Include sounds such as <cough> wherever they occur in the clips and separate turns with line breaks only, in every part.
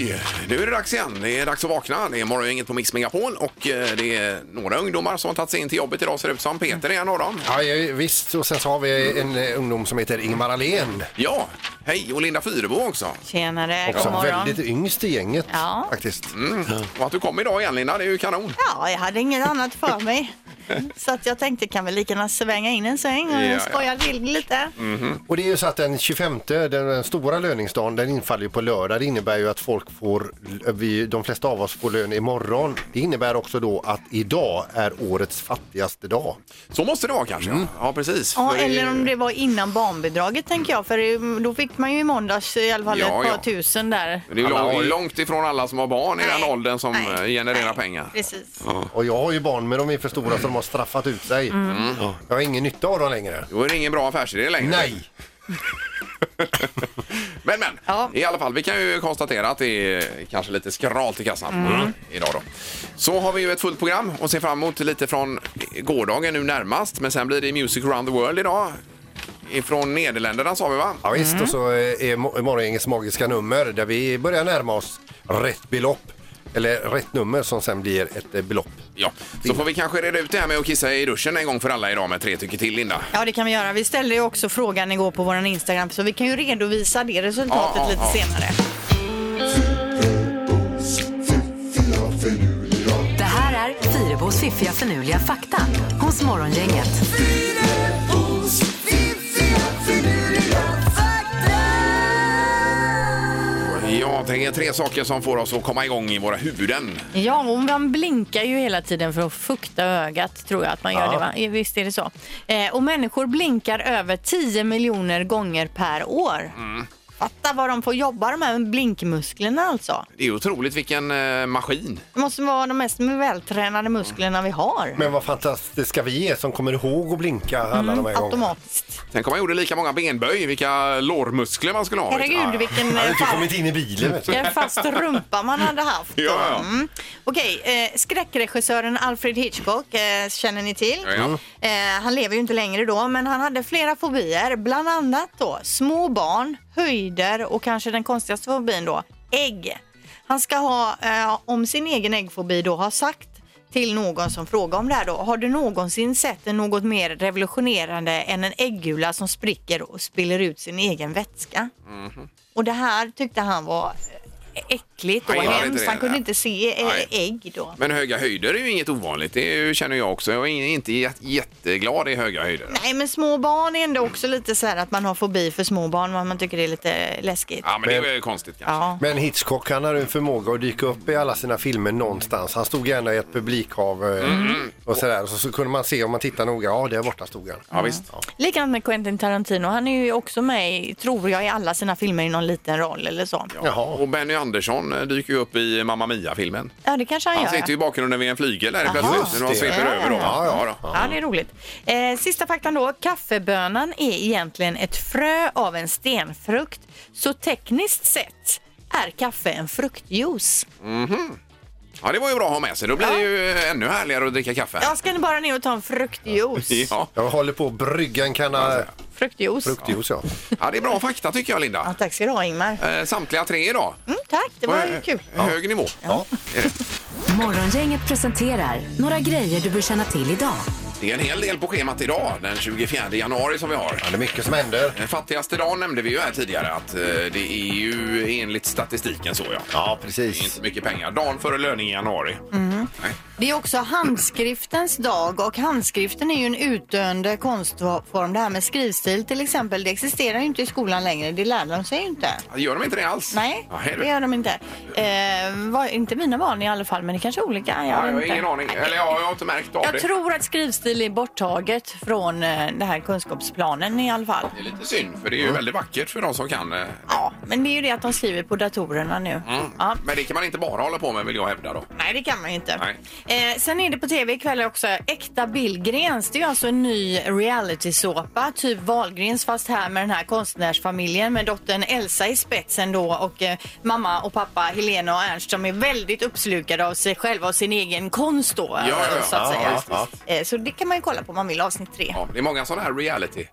Eh, Nu är det dags igen. Det är dags att vakna. Det är morgongänget på Mix Megapol och eh, det är några ungdomar som har tagit sig in till jobbet idag ser det ut som. Peter är en av dem.
Ja, ja, visst. Och sen så har vi en eh, ungdom som heter Ingmar Ahlén.
Ja, hej och Linda Fyrebo också.
Tjenare, god
Också
morgon.
väldigt yngst i gänget
Ja. Mm.
faktiskt.
Och att du kom idag igen Linda, det är ju kanon.
Ja, jag hade inget annat för mig. Så att jag tänkte kan vi lika gärna svänga in en sväng och
Ja, Mm, ja.
skoja till lite.
Och det är ju så att den 25, den, den stora löningsdagen, den infaller ju på lördag. Det innebär ju att folk får, eh, vi, de flesta av oss får lön imorgon. Det innebär också då att idag är årets fattigaste dag.
Så måste det vara kanske.
Mm.
ja. Ja, precis.
Ja,
För det är-
eller om det var innan barnbidraget tänker jag. För eh, då fick man ju i måndags i alla fall
Ja,
ett par
ja.
tusen där.
det är ju
Alla
lång,
har ju-
långt ifrån alla som har barn i den
Nej,
åldern som
nej,
eh, genererar
nej.
pengar.
Precis.
Och jag har ju barn, men de är för stora så de har straffat ut sig.
Mm.
Jag har ingen nytta av dem längre.
Då är det ingen bra affärsidé längre.
Nej!
Men men,
Ja.
i alla fall, vi kan ju konstatera att det är kanske lite skralt i kassan Mm. idag då. Så har vi ju ett fullt program och ser fram emot lite från gårdagen nu närmast, men sen blir det Music around the world idag. Ifrån Nederländerna sa vi va?
Ja, visst, och så eh, är mo- morgongängets magiska nummer där vi börjar närma oss rätt belopp. Eller rätt nummer som sen blir ett eh, belopp.
Ja, så får vi kanske reda ut det här med att kissa i duschen en gång för alla idag med tre tycker till Linda.
Ja, det kan vi göra. Vi ställde ju också frågan igår på vår Instagram så vi kan ju redovisa det resultatet
Ja, ja,
lite
ja.
senare.
Det här är Fyrabos fiffiga förnuliga fakta hos Morgongänget.
Jag tänker tre saker som får oss att komma igång i våra huvuden.
Ja, och man blinkar ju hela tiden för att fukta ögat, tror jag att man gör
Ja.
det. Va? Eh, Visst är det så. Eh, och människor blinkar över 10 miljoner gånger per år.
Mm.
Fatta vad de får jobba de här blinkmusklerna alltså.
Det är otroligt vilken eh, maskin.
Det måste vara de mest vältränade musklerna vi har.
Men vad fantastiska vi är som kommer ihåg att blinka alla de här gångerna.
Automatiskt.
Tänk om man gjorde lika många benböj, vilka lårmuskler man skulle ha. vet du.
Herregud, vilken
Jag har
eh,
ju inte
fa-
kommit in i bilen. Vet du.
vilken fast rumpa man hade haft. då.
Ja, ja.
Mm. Okej, eh, skräckregissören Alfred Hitchcock eh, känner ni till.
Ja, ja.
Eh, han lever ju inte längre då, men han hade flera fobier. Bland annat då små barn, höjder och kanske den konstigaste fobin då, ägg. Han ska ha, eh, om sin egen äggfobi då, ha sagt till någon som frågar om det här då. Har du någonsin sett något mer revolutionerande än en äggula som spricker och spiller ut sin egen vätska? Och det här tyckte han var eh, äckligt och
Han gillade inte
hemskt.
det,
Han kunde
nej.
inte se eh,
Nej.
ägg då.
Men höga höjder är ju inget ovanligt, det är ju- känner jag också. Jag är in- inte jät- jätteglad i höga höjder.
Nej, men små barn är ändå också lite så här att man har fobi för små barn. Man, man tycker det är lite läskigt.
Ja, men det är ju konstigt kanske.
Ja.
Men Hitchcock han hade en förmåga att dyka upp i alla sina filmer någonstans. Han stod gärna i ett publikhav eh, och sådär. Och så, så kunde man se om man tittar noga. Ja, där borta stod han.
Ja, visst.
Likadant med Quentin Tarantino. Han är ju också med, i, tror jag, i alla sina filmer i någon liten roll eller så. Ja,
Jaha.
Och Benny Andersson eh, dyker ju upp i Mamma Mia-filmen.
det kanske han,
Han typ-
gör.
sitter ju i bakgrunden vid en flygel där
Jaha.
plötsligt när de
Just det.
sveper över dem.
Ja, ja.
då.
Ja, det är roligt. Eh, sista faktan då. Kaffebönan är egentligen ett frö av en stenfrukt. Så tekniskt sett är kaffe en fruktjuice.
ja, det var ju bra att ha med sig. Då blir det ju eh, ännu härligare att dricka kaffe.
Jag ska ni bara ner och ta en fruktjuice.
Ja.
Jag håller på att brygga en kanna
Fruktjuice.
fruktjuice. Ja.
ja, det är bra fakta tycker jag,
Ja,
Linda.
tack ska du ha, Ingmar.
Eh, Samtliga tre idag.
Mm, tack, det var ju kul.
Ja. Hög nivå. Eh,
Ja.
Morgongänget presenterar några grejer du bör känna till idag.
Det är en hel del på schemat idag, den 24 januari som vi har.
Det är mycket som händer.
Den fattigaste dagen Eh, nämnde vi ju här tidigare att eh, det är ju enligt statistiken så ja.
Ja,
Det är
precis.
inte mycket pengar. Dagen före löning i januari.
Mm.
Nej.
Det är också handskriftens dag och handskriften är ju en utdöende konstform. Det här med skrivstil till exempel, det existerar ju inte i skolan längre. Det lär de sig ju inte.
Gör de inte det alls?
Nej,
Nej
det gör de inte. Eh, var, inte mina barn i alla fall, men det kanske är olika. Jag,
jag
vet
har
inte.
ingen aning. Eller ja, jag har inte märkt av det.
Jag tror att skrivstil är borttaget från eh, den här kunskapsplanen i alla fall.
Det är lite synd, för det är ju
Mm.
väldigt vackert för de som kan. eh.
Ja, men det är ju det att de skriver på datorerna nu. Ja.
mm. Men det kan man inte bara hålla på med vill jag hävda då.
Nej, det kan man ju inte.
Nej.
Eh, sen är det på tv ikväll också Äkta Billgrens. Det är ju alltså en ny realitysåpa, typ Wahlgrens fast här med den här konstnärsfamiljen med dottern Elsa i spetsen då och eh, mamma och pappa Helena och Ernst som är väldigt uppslukade av sig själva och sin egen konst då.
ja,
eh, så att
ja,
säga.
ja,
Eh, så det kan man ju kolla på om man vill, avsnitt tre.
Ja, det är många sådana här reality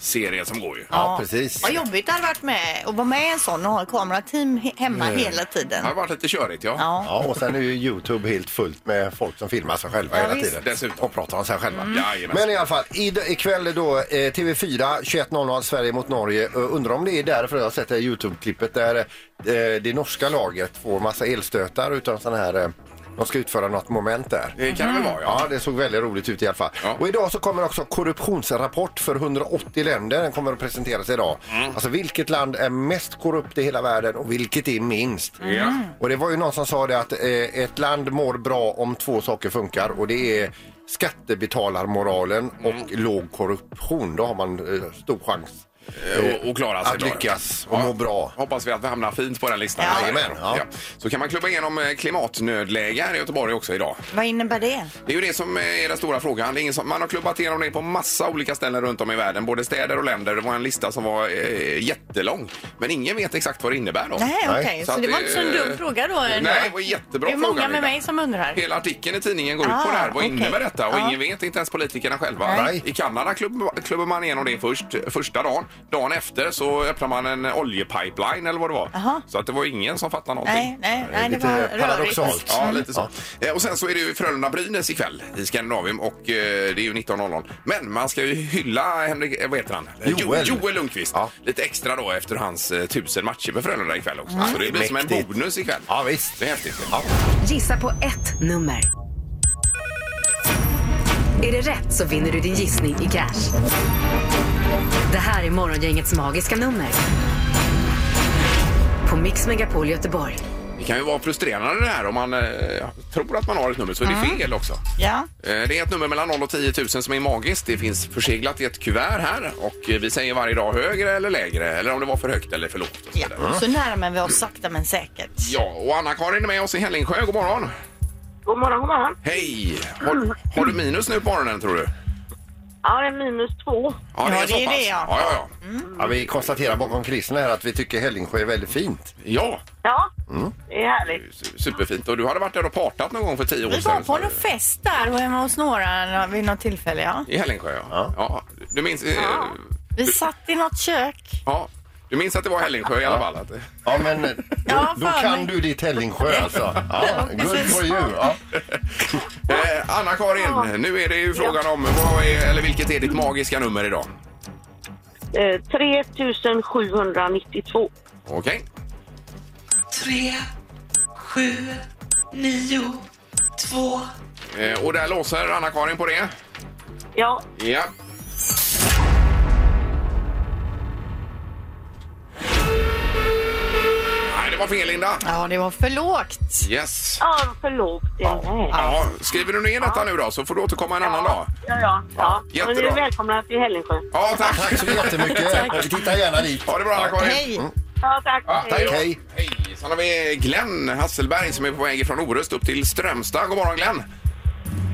serie som går ju.
Ja, precis.
Vad jobbigt det hade varit med att vara med i en sån och ha ett kamerateam he- hemma hela tiden.
Det har varit lite körigt, ja.
Ja.
Ja, och sen är ju Youtube helt fullt med folk som filmar sig själva
Ja,
hela
visst.
tiden.
Dessutom.
Och pratar om sig själva.
Mm.
Jajamän.
Men i alla fall, i- ikväll då eh, TV4 21.00 Sverige mot Norge. Eh, Undrar om det är därför jag har sett det här Youtube-klippet där eh, det norska laget får massa elstötar utan sån här... eh, De ska utföra något moment där.
Det kan det väl vara,
Ja,
ja.
det såg väldigt roligt ut i alla fall.
Ja.
Och idag så kommer också korruptionsrapport för 180 länder. Den kommer att presenteras idag. Alltså vilket land är mest korrupt i hela världen och vilket är minst?
Ja.
Mm.
Och det var ju någon som sa det att eh, ett land mår bra om två saker funkar och det är skattebetalarmoralen och låg korruption. Då har man eh, stor chans.
Eh, Och, och klara sig
Eh, Att
bra.
lyckas och må bra.
Hoppas vi att vi hamnar fint på den listan.
Ja.
Jajamän, ja.
Så kan man klubba igenom eh, klimatnödläge här i Göteborg också idag.
Vad innebär det?
Det är ju det som eh, är den stora frågan. Det är ingen som, man har klubbat igenom det på massa olika ställen runt om i världen, både städer och länder. Det var en lista som var eh, jättelång, men ingen vet exakt vad det innebär. Då.
Nej, okej.
Nej.
Så,
Så
det
att
var inte så en
det-
dum fråga då? ändå.
Nej, det var en jättebra
Det är många
fråga,
med
Linda.
mig som undrar.
Hela artikeln i tidningen går ut
Ah,
på det här. Vad
okej.
innebär detta? Och
Ja.
ingen vet, inte ens politikerna själva.
Nej.
I Kanada klubb, klubbar man igenom det först, första dagen. Dagen efter så öppnar man en oljepipeline eller vad det var.
Aha.
Så att det var ingen som fattade någonting.
Nej, nej,
Det är
nej, det
lite
var
paradoxalt.
rörigt.
Ja, lite så. Eh, Och sen så är det ju Frölunda-Brynäs ikväll i Skandinavien och eh, det är ju 19.00. Men man ska ju hylla Henrik, eh, vad heter han? Eh, Jo-
Joel.
Joel Lundqvist.
Ja.
Lite extra då efter hans eh, tusen matcher med Frölunda ikväll också. Så det blir som en
Mm. Mäktigt.
bonus ikväll.
Ja, visst.
Det är häftigt.
Gissa på ett nummer. Är det rätt så vinner du din gissning i cash. Det här är Morgongängets magiska nummer. På Mix Megapol Göteborg.
Det kan ju vara frustrerande det här om man eh, tror att man har ett nummer så är det
Mm.
fel också.
Ja.
Eh, Det är ett nummer mellan 0 och 10 000 som är magiskt. Det finns förseglat i ett kuvert här och eh, vi säger varje dag högre eller lägre eller om det var för högt eller för lågt. Och så
Ja.
vidare.
Så närmar vi oss sakta men säkert.
Ja, och Anna-Karin är med oss i Hällingsjö. God morgon!
God morgon, god morgon.
Hej! Har, har du minus nu på morgonen tror du?
Ja, det är minus två.
Ja, det
så
är
pass.
det, ja.
Ja, ja, ja.
Ja, vi konstaterar bakom krisen här att vi tycker Hällingsjö är väldigt fint.
ja.
Ja, det är härligt.
su- Superfint. Och du hade varit där och partat någon gång för tio år
Vi
sedan.
var på en fest där och hemma hos några vid något tillfälle. Ja.
I Hällingsjö, ja. ja.
Ja.
Du minns... eh,
Vi satt i något kök.
Ja. Du minns att det var Hällingsjö i alla fall? Att,
Ja, men eh,
<laughs> Ja,
då, då
fan.
kan du ditt Hällingsjö
<laughs>
alltså. Ja, good for you. Ja.
Eh, Anna-Karin, nu är det ju frågan om vad är, eller vilket är ditt magiska nummer idag?
Eh, 3792.
Okej.
tre, sju, nio, två.
Eh, och där låser Anna-Karin på det.
Ja,
Ja. Nej, det var fel Linda.
Ja, det var för lågt.
Yes.
ja för lågt. Ja, ja,
Ja, skriver du ner detta nu då så får du återkomma en annan dag.
ja. ja.
Ja,
Men ni
jättebra.
är välkomna till Hällingsjö.
Ja, tack.
Tack
<laughs>
så jättemycket. Titta gärna dit.
Ha det bra Anna-Karin.
Hej!
Ja, tack.
Ja,
Hej.
då.
hej.
Hej. Sen har vi Glenn Hasselberg som är på väg från Orust upp till Strömstad. God morgon Glenn.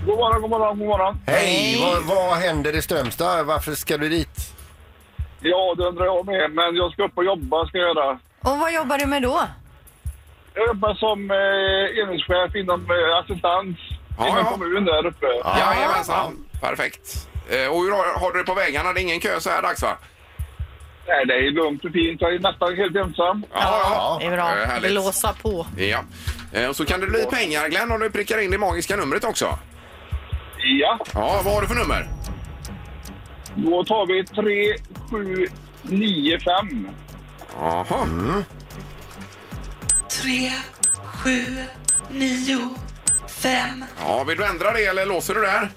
God morgon, god morgon, god morgon.
Hej! Vad, vad händer i Strömstad? Varför ska du dit?
Ja, det undrar jag med, men jag ska upp och jobba ska jag göra.
Och vad jobbar du med då?
Jag jobbar som eh, enhetschef inom eh, assistans
Ja,
inom
ja.
kommun där uppe.
Ja. Jajamensan. Perfekt. Eh, Och hur har, har du det på vägarna? Det är ingen kö så här dags va?
Nej, det är lugnt och fint. Jag är nästan helt ensam.
ja. Eh,
Det är bra.
Härligt.
Blåsa på.
Ja. Eh, Och så kan det bli pengar Glenn om du prickar in det magiska numret också.
Ja,
Ja, vad har du för nummer?
då tar vi 3, 7, 9, 5.
Jaha.
Tre, sju, nio, fem.
Ja, vill du ändra det eller låser du där?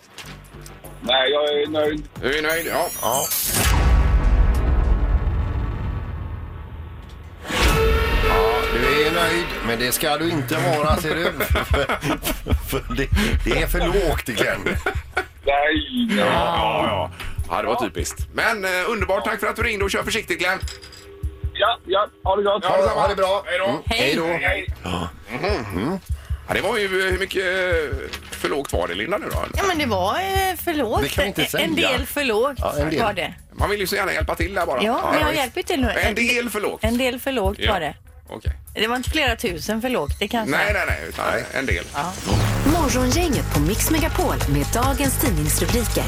Nej, jag är nöjd.
Du är nöjd? Ja.
Ja. Ja, Du är nöjd, men det ska du inte vara
<laughs>
ser du. För det, det är för lågt Glenn.
Nej, nej.
Ja, ja. Ja, det var typiskt. Men eh, underbart. Tack för att du ringde och kör försiktigt Glenn.
Ja, ja, ha det gott.
Ja,
Ha, ha det bra.
Hej då.
Mm, Hej då.
Hej.
Ja, det var ju hur mycket eh, för lågt var det Linda nu då?
Ja, men det var eh, för lågt.
Det kan vi inte säga.
En del för lågt
Ja, en del.
var det.
Man vill ju så gärna hjälpa till där bara.
Ja, men jag
visst.
hjälper till nu.
En del för lågt.
En del för lågt
Ja.
var det.
Okej.
Det var inte flera tusen för lågt, det kanske
Nej, nej, nej, utan en del.
Morgongänget på Mix Megapol med dagens tidningsrubriker.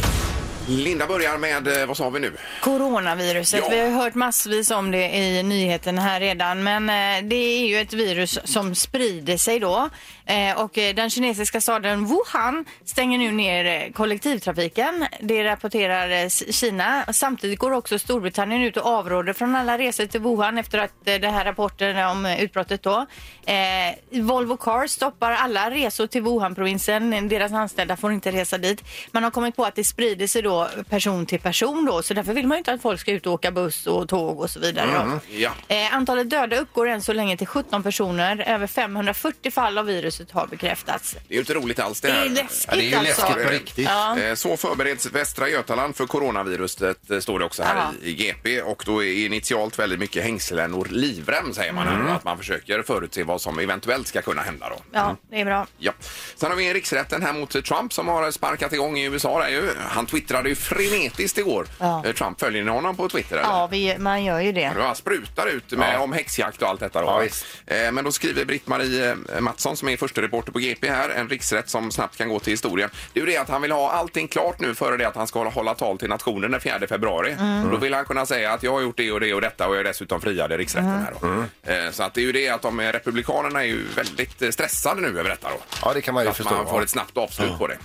Linda börjar med, eh, vad sa vi nu?
Coronaviruset,
Ja.
vi har ju hört massvis om det i nyheten här redan men eh, det är ju ett virus som sprider sig då eh, och eh, den kinesiska staden Wuhan stänger nu ner eh, kollektivtrafiken. Det rapporterar eh, S- Kina. Samtidigt går också Storbritannien ut och avråder från alla resor till Wuhan efter att eh, det här rapporten om eh, utbrottet då. Eh, Volvo Cars stoppar alla resor till Wuhan-provinsen. Deras anställda får inte resa dit. Man har kommit på att det sprider sig då person till person då, så därför vill man ju inte att folk ska ut och åka buss och tåg och så vidare. Då.
Mm.
Ja.
Eh, antalet döda uppgår än så länge till 17 personer. Över 540 fall av viruset har bekräftats.
Det är ju inte roligt alls det
Det
här.
är läskigt
Ja, det är ju
alltså.
läskigt på riktigt.
Ja.
Eh, Så förbereds Västra Götaland för coronaviruset, eh, står det också här
Ja.
i- i GP. Och då är initialt väldigt mycket hängslen och livrem, säger man.
Mm.
här. Att man försöker förutse vad som eventuellt ska kunna hända då.
Ja, det är
Mm.
bra.
Ja. Sen har vi riksrätten här mot Trump som har sparkat igång i USA. Där ju. Han twittrade ju frenetiskt igår.
Ja.
Eh, Trump, följer ni honom på Twitter? Eller?
Ja, vi, man gör ju det.
Ja, Han sprutar ut med,
Ja.
om häxjakt och allt detta. Då.
Ja, visst.
Eh, Men då skriver Britt-Marie eh, Mattsson som är första reporter på GP här, en riksrätt som snabbt kan gå till historien. Det är ju det att han vill ha allting klart nu före det att han ska hålla, hålla tal till nationen den 4 februari.
Mm.
Då vill han kunna säga att jag har gjort det och det och detta och jag är dessutom friad i riksrätten här då.
Mm.
Eh, Så att det är ju det att de eh, republikanerna är ju väldigt eh, stressade nu över detta då.
Ja, det kan man ju
att
förstå.
man får
ja.
ett snabbt avslut på det.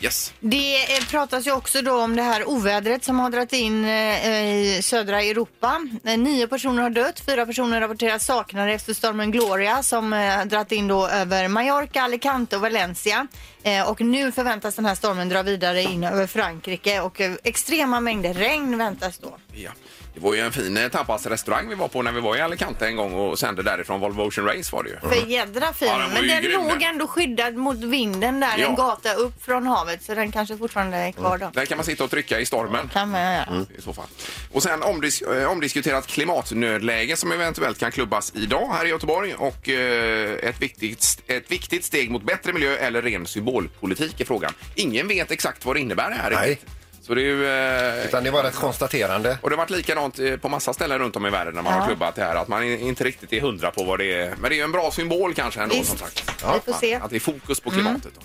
Yes.
Det eh, pratas ju också då om det här ovädret som har dragit in eh, i södra Europa. Eh, Nio personer har dött, fyra personer rapporteras saknade efter stormen Gloria som eh, dragit in då över Mallorca, Alicante och Valencia. Eh, och nu förväntas den här stormen dra vidare in över Frankrike och eh, extrema mängder regn väntas då.
Ja. Det var ju en fin eh, tapasrestaurang vi var på när vi var i Alicante en gång och sände därifrån Volvo Ocean Race var det ju.
För jädra fin.
Mm. Ja, den var
Men
ju
den
grym,
låg
den.
ändå skyddad mot vinden där,
Ja. Mm.
en gata upp från havet så den kanske fortfarande är kvar då.
Där kan man sitta och trycka i stormen.
Kan man göra.
I så fall. Och sen omdis eh, omdiskuterat klimatnödläge som eventuellt kan klubbas idag här i Göteborg och eh, ett viktigt, ett viktigt steg mot bättre miljö eller ren symbolpolitik är frågan. Ingen vet exakt vad det innebär det här
Nej.
riktigt. Så det är ju... eh,
Utan det var ett konstaterande.
Och det har varit likadant eh, på massa ställen runt om i världen när man har klubbat det här. Att man i- inte riktigt är hundra på vad det är. Men det är ju en bra symbol kanske ändå
Visst.
som sagt.
Vi får
att,
se. Mm.
att det är fokus på klimatet. Då.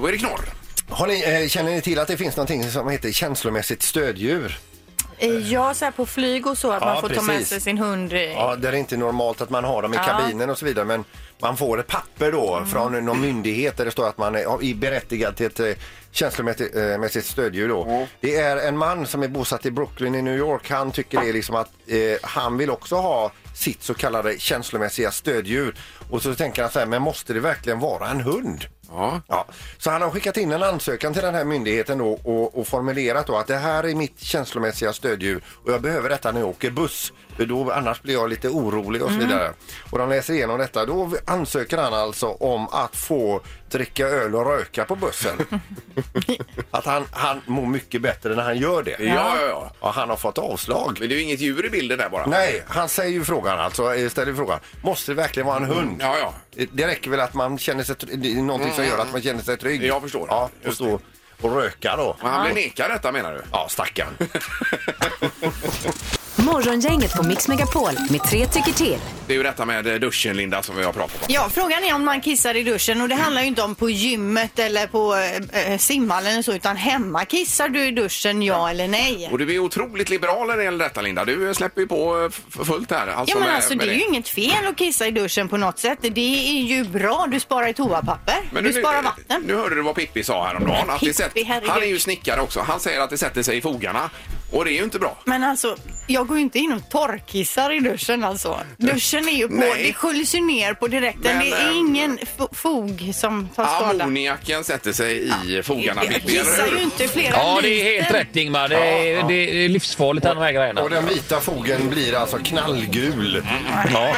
då är det knorr.
Har ni, eh, känner ni till att det finns någonting som heter känslomässigt stödjur?
Eh, Ja, så här på flyg och så att
Ja,
man får ta med
precis.
sig sin hund. eh,
Ja, där det är inte normalt att man har dem i
Ja.
kabinen och så vidare. Men man får ett papper då från någon myndighet där det står att man är i- berättigad till ett eh, känslomässigt eh, mässigt stödjur då. Det är en man som är bosatt i Brooklyn i New York. Han tycker det är liksom att eh, han vill också ha sitt så kallade känslomässiga stödjur. Och så tänker han så här, men måste det verkligen vara en hund?
Ja.
Ja, så han har skickat in en ansökan till den här myndigheten då och, och formulerat då att det här är mitt känslomässiga stödjur och jag behöver detta när jag åker buss. För då, annars blir jag lite orolig och så vidare. Och de läser igenom detta. Då ansöker han alltså om att få dricka öl och röka på bussen. att han, han mår mycket bättre när han gör det.
Ja, ja, ja.
Och han har fått avslag.
Men det är ju inget djur i bilden där bara.
Nej, han säger ju frågan alltså, eh, ställer frågan. Måste det verkligen vara en hund? Eh,
Ja, ja.
Det räcker väl att man känner sig, tr- det är någonting som gör att man känner sig trygg.
Jag förstår.
Ja, och
Just
stå och röka då.
Men han blev nekad detta menar du?
Ja,
<laughs>
stackarn.
Morgongänget på Mix Megapol med tre tycker till.
Det är ju detta med eh, duschen Linda som vi har pratat om.
Ja, frågan är om man kissar i duschen och det handlar ju inte om på gymmet eller på eh, eh, simhallen eller så utan hemma. Kissar du i duschen, ja eller nej?
Och du är otroligt liberal när det gäller detta Linda. Du eh, släpper ju på eh, f- fullt här. Alltså,
Ja men
med-
alltså
med
det är ju inget fel att kissa i duschen på något sätt. Det är ju bra. Du sparar i toapapper.
Men
du sparar vatten.
Nu hörde du vad Pippi sa häromdagen. Att det
Pippi,
sätt,
herregud.
han är ju snickare också. Han säger att det sätter sig i fogarna. Och det är ju inte bra.
Men alltså, jag går ju inte in och torrkissar i duschen alltså. Duschen är ju på,
Nej.
det sköljs ju ner på direkten.
Men,
det
eh,
är ingen fo- fog som tar skada.
Ammoniaken sätter sig i fogarna.
Jag
Pippi, eller
kissar
hur?
ju inte flera
Ja, det är
liter.
helt rätt Ingmar. Det är, det är livsfarligt alla de här grejerna.
Och den vita fogen blir alltså
Mm.
knallgul. Ja.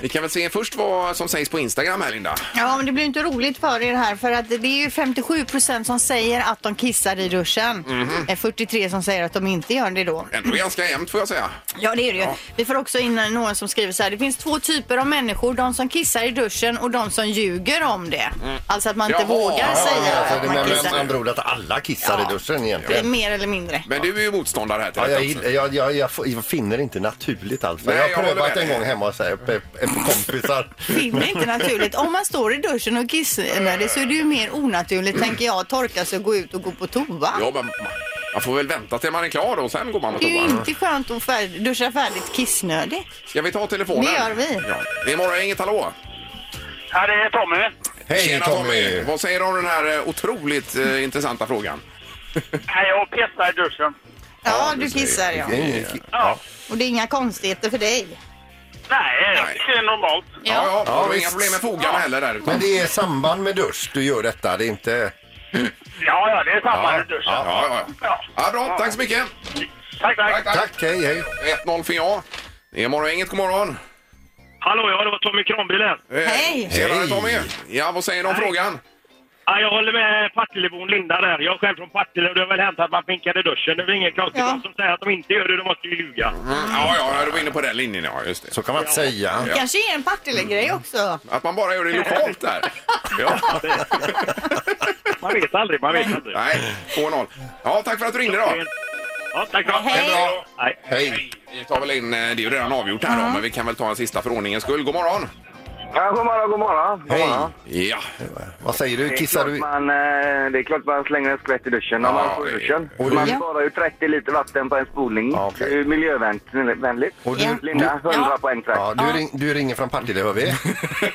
Vi kan väl se först vad som sägs på Instagram här Linda.
Ja, men det blir ju inte roligt för er här för att det är ju 57 procent som säger att de kissar i duschen. Eh, 43 som säger att de inte gör det då.
Ändå ganska jämnt får jag säga.
Ja, det är det ju.
Ja.
Vi får också in någon som skriver så här. Det finns två typer av människor. De som kissar i duschen och de som ljuger om det. Alltså att man inte
Jaha,
vågar
ja,
säga
ja,
Alltså,
att
det
man
med, med,
kissar.
med andra ord att alla kissar i duschen
Det är
egentligen.
mer eller mindre.
Men du är ju motståndare här till
Ja, jag,
detta. också.
gill- jag, jag, jag, får- jag finner det inte naturligt alls.
Nej,
jag
jag
har
håller
prövat
med
en
dig.
gång hemma och säger
<laughs>
kompisar.
Det är inte naturligt. Om man står i duschen och kissar så är det ju mer onaturligt, tänker jag, att torka sig och gå ut och gå på toa.
Ja, men Man får väl vänta till man är klar och sen går man på
Det är ju
toa.
inte skönt att färd- duscha färdigt kissnödig.
Ska vi ta telefonen?
Det gör vi.
Ja. Det är morgon, inget hallå.
Ja, det är Tommy.
Hej Tommy!
Vad säger du om den här eh, otroligt eh, intressanta frågan?
Nej, jag pissar i duschen.
Ja,
du
du
ser.
kissar ja.
Hej.
Ja.
Och det är inga konstigheter för dig.
Nej,
Nej.
det är normalt.
Ja, ja,
Ja,
har du inga
visst.
problem med fogarna heller där ute?
Men det är samband med dusch du gör detta, det är inte...
Ja, ja, det är samma i duschen.
Ja, ja, ja.
Ja.
ja bra, tack så mycket.
Tack, tack.
Tack, tack.
Tack, hej hej!
1-0 för ja. Det är morgon, inget god morgon.
Hallå, ja, det var Tommy Kranbil här.
Eh,
Hej.
Tjenare
Hej.
Tommy! Ja, vad säger du om frågan?
Ja, jag håller med Partillebon Linda där. Jag är själv från Partille och det har väl hänt att man finkar i duschen. Det är väl inget konstigt.
Ja.
De som säger att de inte gör det, de måste ju ljuga.
Mm, ja, ja, du var inne på den linjen, ja, just det.
Så kan man inte säga.
Kanske är en Partille-grej också.
Att man bara gör det lokalt där. Ja.
Man vet aldrig, man vet aldrig.
Nej, 2-0. Ja, tack för att du ringde då.
Ja, tack så
Hej.
Hej.
Hej!
Vi tar väl in, eh, det är ju redan avgjort här då, men vi kan väl ta en sista för ordningens skull. God morgon!
Ja, god morgon, god morgon. God
Hej!
morgon.
Ja,
Vad säger du?
Det är,
Kissar
klart
du?
man, eh, det är klart man slänger en skvätt i duschen när
Ja,
man får
det-
duschen.
och du-
Man
Ja.
sparar ju 30 liter vatten på en spolning.
Ja, okej.
Det är ju miljövänligt.
Och
Ja.
du,
Linda, 100
Ja.
poäng
ja,
track.
du, ring, du ringer från Partille, hör vi.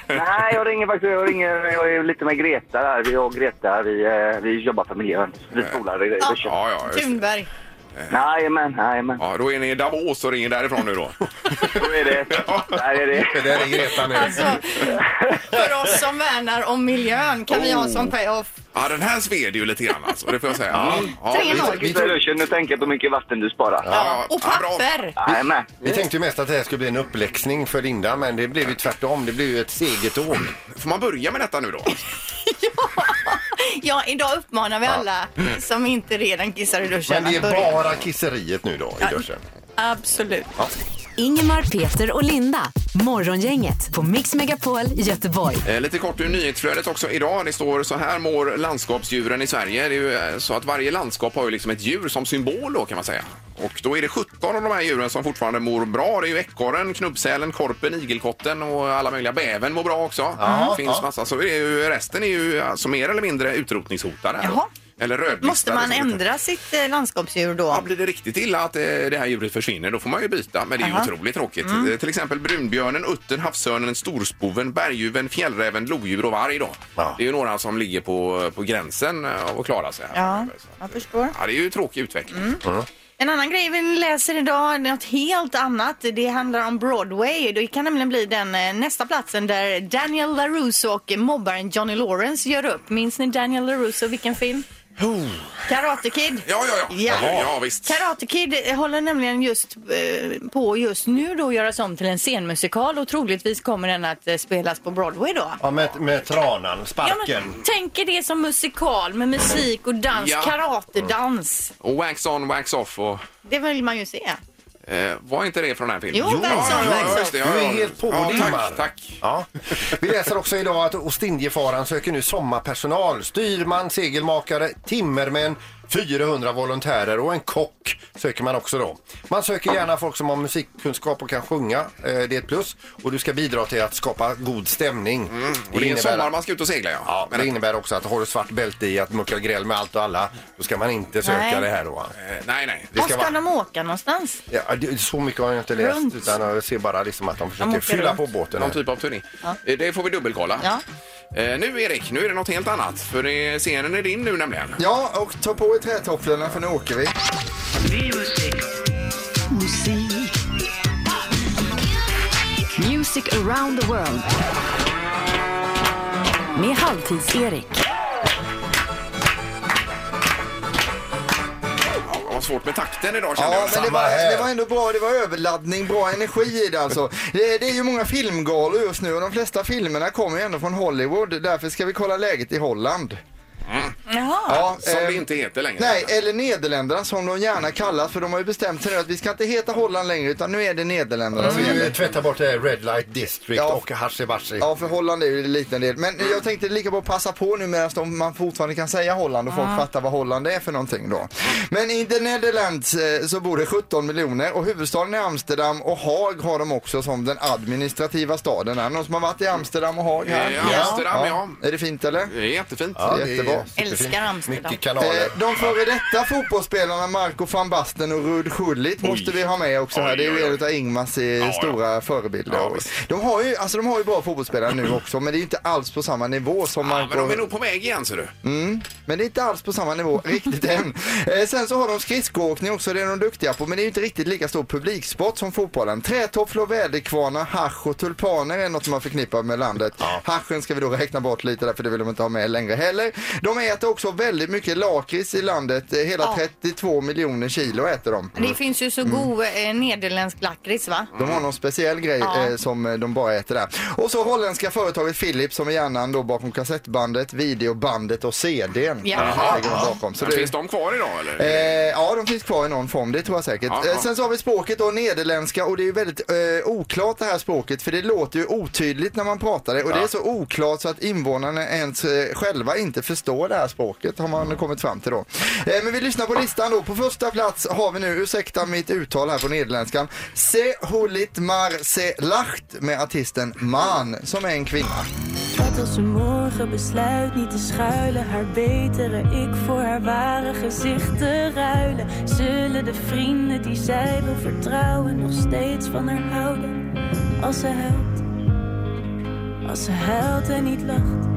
Nej, jag ringer faktiskt. Jag, ringer, jag är lite med Greta där. Vi och Greta, vi, eh, vi jobbar för miljön. Vi spolar i i duschen.
ja, ja. just det.
Thunberg.
Jajamän, jajamän.
Ja, då är ni i Davos och ringer därifrån nu då.
Så är det. Där är det.
Det där är Greta nu.
Alltså, för oss som värnar om miljön kan vi ha som payoff.
Ja, den här sved ju lite grann alltså, det får jag säga. Ja, ja,
Tre
vi-
noll.
vi
Kissa i duschen och tänka på hur mycket vatten du sparar.
ja,
Och
ja, bra.
papper.
Jajamän.
Vi tänkte ju mest att det här skulle bli en uppläxning för Linda, men det blev ju tvärtom. Det blev ju ett segertåg.
Får man börja med detta nu då?
Ja, idag uppmanar vi alla som inte redan kissar i duschen
Men det är
att börja.
bara kisseriet nu då i duschen.
Absolut.
Ingemar, Peter och Linda. Morgongänget på Mix Megapol Göteborg.
Eh, Lite kort ur nyhetsflödet också idag. Det står så här mår landskapsdjuren i Sverige. Det är ju eh, så att varje landskap har ju liksom ett djur som symbol då kan man säga. Och då är det 17 av de här djuren som fortfarande mår bra. Det är ju ekorren, knubbsälen, korpen, igelkotten och alla möjliga. Bävern mår bra också. det finns massa. Så är det ju, resten är ju alltså mer eller mindre utrotningshotade. här då.
Jaha.
Eller rödlistade.
Måste man
som det heter.
ändra sitt eh, landskapsdjur då?
Ja, blir det riktigt illa att eh, det här djuret försvinner, då får man ju byta. Men det är ju
Aha. Mm.
otroligt tråkigt. Eh, Till exempel brunbjörnen, uttern, havsörnen, storspoven, berguven, fjällräven, lodjur och varg. Då.
Ja.
Det är ju några som ligger på, på gränsen eh, av att klara sig. Här.
Ja, Mm.
Så
jag
att, eh,
förstår.
Ja, det är ju en tråkig utveckling.
Mm.
En annan grej vi läser idag, något helt annat. Det handlar om Broadway. Det kan nämligen bli den eh, nästa platsen där Daniel LaRusso och mobbaren Johnny Lawrence gör upp. Minns ni Daniel LaRusso? Vilken film? Karate Kid.
Ja, ja, ja.
Ja.
Jaha. ja visst.
Karate Kid håller nämligen just eh, på just nu då att göras om till en scenmusikal och troligtvis kommer den att eh, spelas på Broadway då.
Ja, med, med tranan,
Ja,
sparken.
men, tänk er det som musikal med musik och dans,
Ja.
karatedans.
Och wax on, wax off. Och,
Det vill man ju se.
eh, var inte det från den här filmen?
Jo, wax on,
ja,
wax
ja,
off.
just det,
Du
ja,
är
ja.
helt på
ja,
Dimmar.
Tack, tack.
Ja. Vi läser också idag att Ostindiefararen söker nu sommarpersonal. Styrman, segelmakare, timmermän, 400 volontärer och en kock söker man också då. Man söker gärna folk som har musikkunskap och kan sjunga. Eh, Det är ett plus. Och du ska bidra till att skapa god stämning.
Mm. Och det är en
innebär-
sommar man ska ut och segla, ja.
Ja, men
Men,
det innebär också att har du svart bälte i att mucka gräl med allt och alla, då ska man inte söka
Nej.
det här då.
eh, nej, nej.
Det
Var
ska
ska
vara-
de åka någonstans?
Ja, det, så mycket har jag inte läst
Runt.
utan jag ser bara liksom att de försöker
åker
fylla
runt.
på båten. här.
Någon typ av turné. Eh, Det får vi dubbelkolla.
Ja.
Eh, nu Erik, nu är det något helt annat. För det, scenen är din nu nämligen.
Ja, och ta på er trätofflorna för nu åker vi.
Music around the world. Med Halvtids-Erik.
Ja, det var svårt med takten idag kände
Ja,
jag.
men det
Samma
var,
här.
det var ändå bra. Det var överladdning, bra energi i det alltså. Det, det är ju många filmgalor just nu och de flesta filmerna kommer ju ändå från Hollywood. Därför ska vi kolla läget i Holland.
Jaha.
Ja,
Som det
eh,
inte heter längre.
Nej, eller Nederländerna som de gärna kallas för de har ju bestämt sig nu att vi ska inte heta Holland längre utan nu är det Nederländerna som
Mm.
gäller.
Tvätta bort det här Red Light District
Ja.
och Hashi
Ja, för Holland är ju en liten del. Men jag tänkte lika bra passa på nu medan de, man fortfarande kan säga Holland och folk fattar vad Holland är för någonting då. Men i The Netherlands eh, så bor det 17 miljoner och huvudstaden är Amsterdam och Haag har de också som den administrativa staden. Är det någon som har varit i Amsterdam och Haag här?
Eh, Amsterdam, ja.
Är det fint eller?
Det är jättefint.
Ja,
det är jättebra.
superfint.
älskar Amsterdam.
Mycket kanaler.
Eh, De före detta fotbollsspelarna Marco van Basten och Rud Schullit måste vi ha med också här. Det är ju en av Ingmars eh, stora förebilder. de, har ju, alltså, de har ju bra fotbollsspelare nu också men det är ju inte alls på samma nivå som
Ja,
Marco.
men de är nog på väg igen ser du.
Mm, men det är inte alls på samma
<laughs>
nivå riktigt än. Eh, sen så har de skridskoåkning också, det är de duktiga på, men det är ju inte riktigt lika stor publiksport som fotbollen. Trätofflor, väderkvarnar, hasch och tulpaner är något som man förknippar med landet. Haschen ska vi då räkna bort lite där, för det vill de inte ha med längre heller. De äter också väldigt mycket lakrits i landet, eh, hela
Ja.
32 miljoner kilo äter de.
Det finns ju så god eh, nederländsk lakrits va?
De har någon speciell grej
Ja.
eh, som eh, de bara äter där. Och så holländska företaget Philips som är hjärnan då bakom kassettbandet, videobandet och CDn.
Ja.
Jaha. Lägger de bakom. Så
Men
det-
Finns de kvar idag eller?
Eh, ja, de finns kvar i någon form, det tror jag säkert.
Ja, ja.
Eh, sen så har vi språket då, nederländska, och det är ju väldigt eh, oklart det här språket, för det låter ju otydligt när man pratar det, och det är så oklart så att invånarna ens eh, själva inte förstår det här språket, har man kommit fram till då. Eh, men vi lyssnar på listan då. På första plats har vi nu, ursäkta mitt uttal här på nederländskan, Se Hulit Mar Se Lacht med artisten Man, som är en kvinna.
Wat als ze morgen besluit niet te schuilen, haar betere ik voor haar ware gezicht te ruilen? Zullen de vrienden die zij wil vertrouwen nog steeds van haar houden? Als ze huilt, als ze huilt en niet lacht.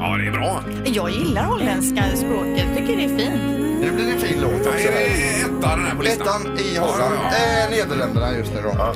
Ja, det är bra.
Jag gillar holländska språket, tycker det är fint.
Det blir en fin låt också.
Etta den här på listan.
Ettan i Holland. Eh, Nederländerna just nu då.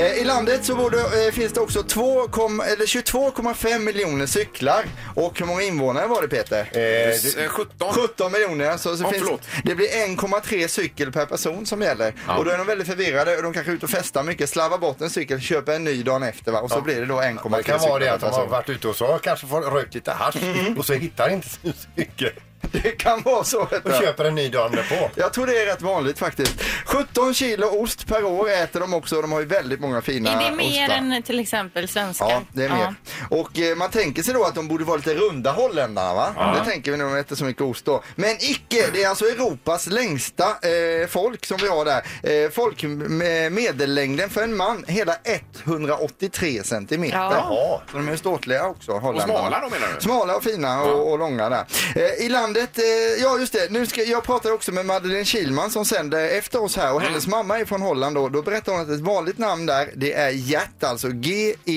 Eh, I landet så borde, eh, finns det också 2, kom- eller 22,5 miljoner cyklar. Och hur många invånare var det Peter?
S- eh, 17.
17 miljoner. Så, så
Ja,
finns,
förlåt.
det blir 1,3 cykel per person som gäller.
Ja.
Och då är de väldigt förvirrade och de kanske är ute och festar mycket, slarvar bort en cykel, köper en ny dagen efter va? och så blir det då 1,3 cyklar
Det
per
kan vara det att de har
person.
varit ute och så kanske får rökt lite hasch
Mm.
och så hittar inte sin cykel.
<laughs> Det kan vara så. vet
Och
du.
köper en ny dagen på.
Jag tror det är rätt vanligt faktiskt. 17 kilo ost per år äter de också och de har ju väldigt många fina
Är det mer
ostar.
än eh, till exempel svenska?
Ja, det är mer. Och eh, man tänker sig då att de borde vara lite runda holländarna va?
Ja.
Det tänker vi när de äter så mycket ost då. Men icke! Det är alltså Europas längsta eh, folk som vi har där. Eh, folk med medellängden för en man, hela 183 centimeter.
Ja.
Jaha.
Så de är ståtliga också, holländarna.
smala då, menar du?
Smala och fina och, och långa där. Eh, I landet, eh, ja just det, nu ska, jag pratade också med Madeleine Kilman som sänder efter oss
Mm.
här och hennes mamma är från Holland då. Då berättade hon att ett vanligt namn där det är Gert, alltså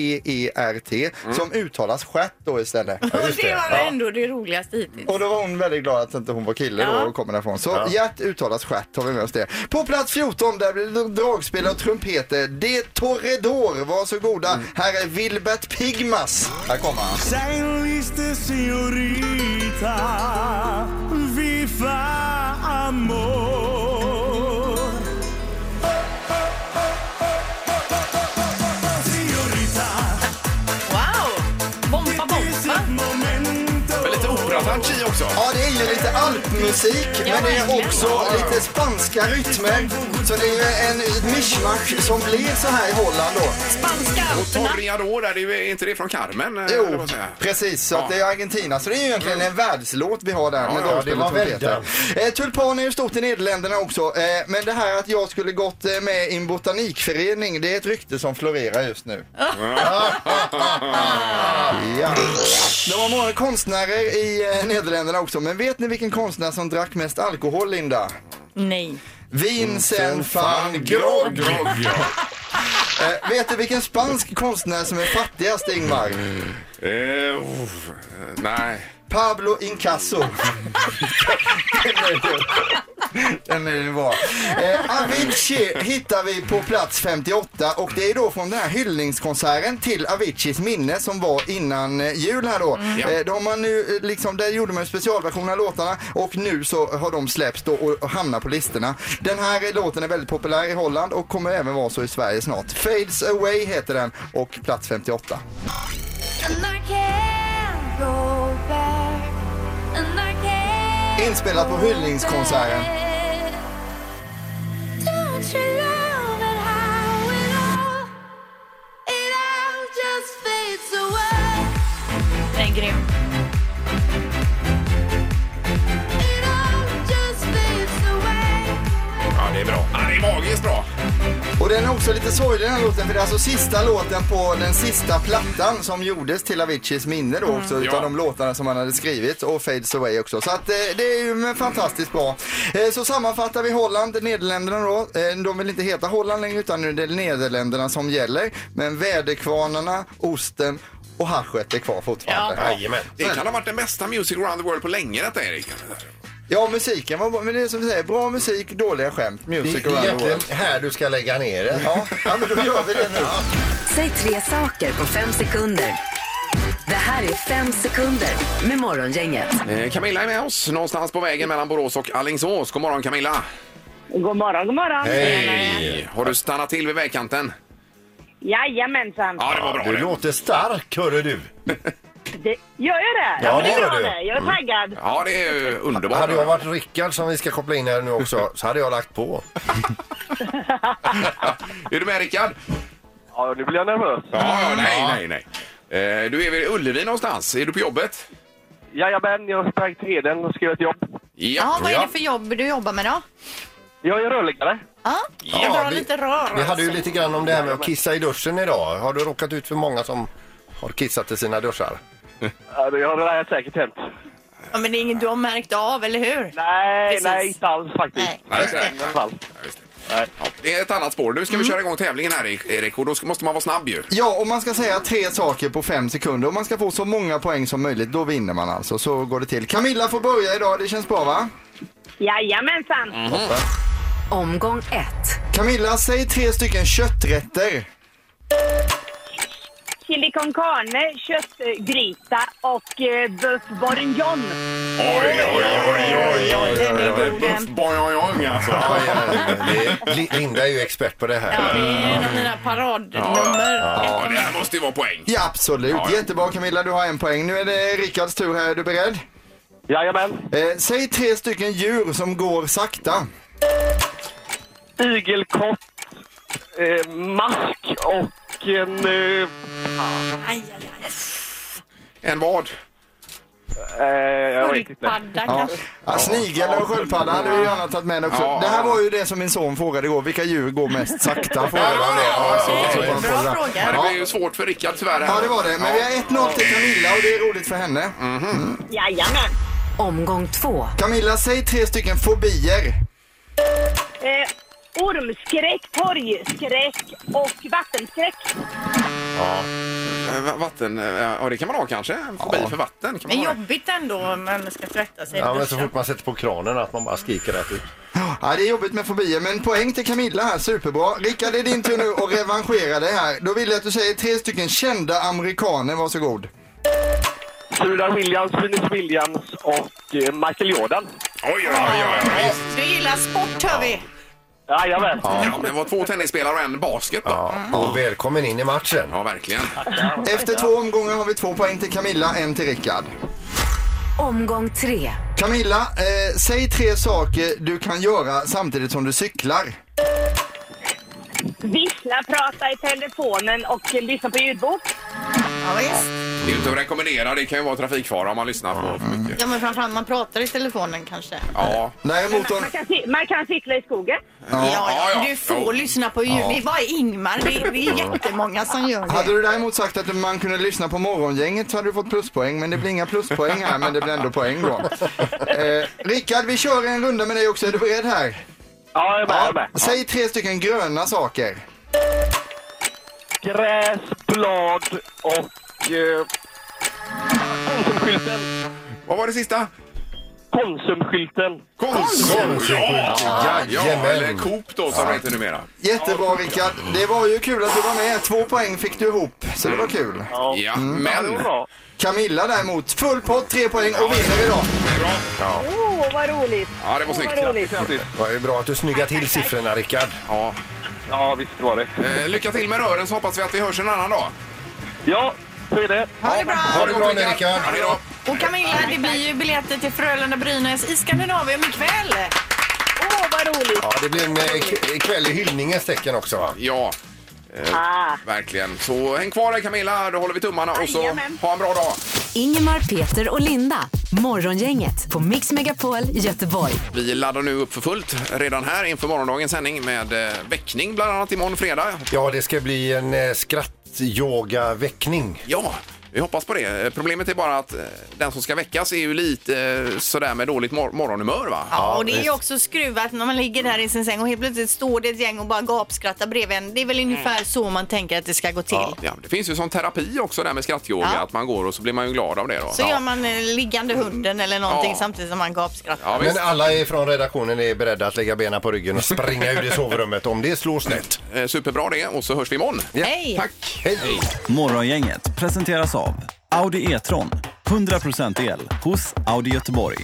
G-E-E-R-T, som uttalas stjärt då istället.
Och Mm. det var väl ändå det roligaste hittills.
Och då var hon väldigt glad att inte hon var kille
Ja.
då och kommer därifrån. Så
Ja.
Gert uttalas stjärt, tar vi med oss det. På plats 14 där blir det dragspel och trumpeter. De Torredor, varsågoda.
Mm.
Här är Wilbert Pigmas. Här kommer han.
Zijn liefste señorita, viva amor.
Wow! Bompa bompa!
Men lite operatouch i också.
Ja, det är ju lite alpmusik, men det är
verkligen.
också lite spanska rytmer. Så det är ju en ett mischmasch som blir så här i Holland då.
Spanska
Och Torreador, där, det är ju- är inte det från Carmen? eh, eller
Jo,
vad säger jag?
precis. Så att
Ja.
det är Argentina. Så det är ju egentligen en världslåt vi har där med
ja, det
dragspel
var
och trumpeter. Eh, tulpan är ju stort i Nederländerna också. Eh, men det här att jag skulle gått eh, med i en botanikförening, det är ett rykte som florerar just nu. Ja. De har många konstnärer i eh, Nederländerna också. Men vet ni vilken konstnär som drack mest alkohol, Linda?
Nej.
Vincent van Gogh. <laughs> Eh, vet du vilken spansk konstnär som är fattigast, Ingmar?
Eh, uff, nej.
Pablo Incasso. Den är ju- Den är ju bra. Eh, Avicii hittar vi på plats 58 och det är då från den här hyllningskonserten till Aviciis minne som var innan eh, jul här då. Eh, då har man nu, eh, liksom, där gjorde man en specialversion av låtarna och nu så har de släppts då och, och hamnar på listorna. Den här eh, låten är väldigt populär i Holland och kommer även vara så i Sverige snart. Fades Away heter den och plats 58. Inspelat på hyllningskonserten.
Den är grym.
Ja, det är bra. Ja, det är magiskt bra.
Och Och den är också lite sorglig den här låten, för det är alltså sista låten på den sista plattan som gjordes till Aviciis minne då också, utav de låtarna som han hade skrivit och Fades Away också. Så att eh, det är ju en fantastiskt bra. Eh, så sammanfattar vi Holland, Nederländerna då. Eh, de vill inte heta Holland längre utan nu är det Nederländerna som gäller. Men väderkvarnarna, osten och haschet är kvar fortfarande.
Det kan ha varit den bästa Music around the world på länge detta Erik.
Ja, musiken var bra. Men det är som vi säger, bra musik, dåliga skämt. Music
Det är
around the
egentligen
world.
här du ska lägga ner det.
Ja, ja men då gör vi det nu.
Säg tre saker på fem sekunder. Det här är fem sekunder med Morgongänget.
Eh, Camilla är med oss någonstans på vägen mellan Borås och Alingsås. God morgon Camilla!
God morgon, god morgon.
Hej! Har du stannat till vid vägkanten?
Jajamensan.
Ja, det var bra
Du
det.
låter stark, hörru du.
Det, gör jag det?
Ja,
men
det gör
bra
du.
det. Jag är taggad.
Mm. Ja, det är ju underbart.
Hade jag varit Rickard som vi ska koppla in här nu också så hade jag lagt på.
Är du med Rickard?
Ja, nu blir jag nervös.
Ja, ja, nej, nej, nej. Eh, Du är vid Ullevi någonstans. Är du på jobbet?
Jajamän, jag sprang till Heden och skrev ett jobb.
Ja, vad är det för jobb du jobbar med då?
Jag är rörläggare.
Ja, jag drar lite rör.
Vi hade ju lite grann om det här med att kissa i duschen idag. Har du råkat ut för många som har kissat i sina duschar?
Ja, Det har det här säkert hänt.
Ja, men det är inget du har märkt av, eller hur?
Nej, nej,
inte
alls faktiskt.
Nej, det är det. Ja, det är ett annat spår. Nu
Mm.
ska vi köra igång tävlingen här Erik och då ska- måste man vara snabb ju.
Ja, och man ska säga tre saker på fem sekunder. Om man ska få så många poäng som möjligt, då vinner man alltså. Så går det till. Camilla får börja idag, det känns bra va?
Jajamensan.
Mm.
Toppen.
Omgång ett.
Camilla, säg tre stycken kötträtter.
Chili con carne, köttgryta och eh, bœuf bourguignon.
Oj, oj, oj, oj, oj,
Den är god den.
Boing, alltså. Ja, ja,
ja. Li- Linda är ju expert på det här.
En av mina paradnummer.
Ja, det här måste ju vara poäng.
Ja, absolut. Jättebra Camilla, du har en poäng. Nu är det Rickards tur här. Är du beredd?
Jajamän.
Eh, säg tre stycken djur som går sakta.
Igelkott, eh, mask och en... Eh,
En vad?
Eh, jag vet inte.
Sköldpadda
Ja. Ja, snigel och sköldpadda hade vi gärna tagit med också.
Ja.
Det här var ju det som min son frågade igår. Vilka djur går mest sakta? Frågade han det. Ja, så- så- så- så- så-
Ja, det blev ju svårt för Rickard tyvärr. här.
Ja, det var det. Men vi har 1-0 till Camilla och det är roligt för henne.
Jajamän.
Omgång två.
Camilla, säg tre stycken fobier.
Eh, ormskräck, torgskräck och vattenskräck.
Ja. Eh, va- Vatten, eh, ja det kan man ha kanske. En fobi för vatten. Kan
Det
man
är
ha.
jobbigt ändå om man ska tvätta sig i
Ja, men så
duschen.
fort man sätter på kranen att man bara skriker rätt ut.
Ja, det är jobbigt med fobier, men poäng till Camilla här. Superbra. Rickard, det är din tur nu att revanschera dig här. Då vill jag att du säger tre stycken kända amerikaner. Varsågod.
Sura Williams, Venus Williams och eh, Michael Jordan.
Oj, oj, oj, oj.
Du gillar sport, hör vi.
Jajamän.
Ja, det var två tennisspelare och en basket. Ja.
Och välkommen in i matchen.
ja, verkligen.
Efter två omgångar har vi två poäng till Camilla, en till Rickard.
Omgång tre.
Camilla, eh, säg tre saker du kan göra samtidigt som du cyklar.
Vissla, prata i telefonen och eh, lyssna på ljudbok.
Ja, visst.
Det är ju inte att rekommendera. Det kan ju vara trafikfara om man lyssnar på för mycket.
Ja, men framförallt man pratar i telefonen kanske.
Ja.
Däremot om...
Man kan, ci- man kan cykla i skogen.
Ja, ja, Du får
Jo.
lyssna på ljud.
Ja.
Det är bara Ingmar. Det är, det är jättemånga som gör
Hade
det.
du däremot sagt att man kunde lyssna på morgongänget så hade du fått pluspoäng, men det blir inga pluspoäng här, men det blir ändå poäng då. Eh, Rickard, vi kör en runda med dig också. Är du beredd här?
Ja, jag är med. Jag är med.
Säg tre stycken gröna saker.
Gräs, blad och... Eh, konsumskylten.
Vad var det sista?
Konsumskylten.
Konsum! Ja, ja,
Jajamän.
eller Coop då som det heter numera.
Jättebra Rickard. Det var ju kul att du var med. Två poäng fick du ihop, så det var kul.
Ja,
Mm.
men...
Camilla däremot, full pott, tre poäng och vinner idag.
Åh, vad roligt.
Ja, det var snyggt.
Åh, vad roligt.
Det var ju bra att du snyggade till siffrorna, Rickard.
Ja.
Ja, visst var det.
Eh, lycka till med rören så hoppas vi att vi hörs en annan dag.
Ja, så är det.
Ha det bra!
Ha det bra nu, Rickard.
Ja, hej då.
Och Camilla, det blir ju biljetter till Frölunda-Brynäs i Skandinavien ikväll.
Åh, vad roligt.
Ja, det blir en eh, k- kväll i hyllningens tecken också, va?
Ja,
Ah.
verkligen. Så häng kvar där Camilla, då håller vi tummarna och så
Jajamän.
ha en bra dag.
Ingemar, Peter och Linda. Morgongänget på Mix Megapol Göteborg.
Vi laddar nu upp för fullt redan här inför morgondagens sändning med eh, väckning bland annat imorgon fredag.
Ja, det ska bli en eh, skrattyoga-väckning.
Ja, vi hoppas på det. Eh, Problemet är bara att eh, den som ska väckas är ju lite eh, sådär med dåligt mor- morgonhumör va?
Ja, och det är ju också skruvat när man ligger där i sin säng och helt plötsligt står det ett gäng och bara gapskrattar bredvid en. Det är väl ungefär så man tänker att det ska gå till.
Ja, det finns ju som terapi också där med skrattyoga,
Ja.
att man går och så blir man ju glad av det då.
Så gör man eh, liggande hunden eller någonting
Ja.
samtidigt som man gapskrattar.
Ja, visst.
Men alla är från redaktionen är beredda att lägga benen på ryggen och springa ur det sovrummet om det slår snett.
Eh, Superbra det och så hörs vi imorgon.
Hej!
Tack! Hej.
Morgongänget presenteras av Audi E-tron. 100% el hos Audi Göteborg.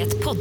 Ett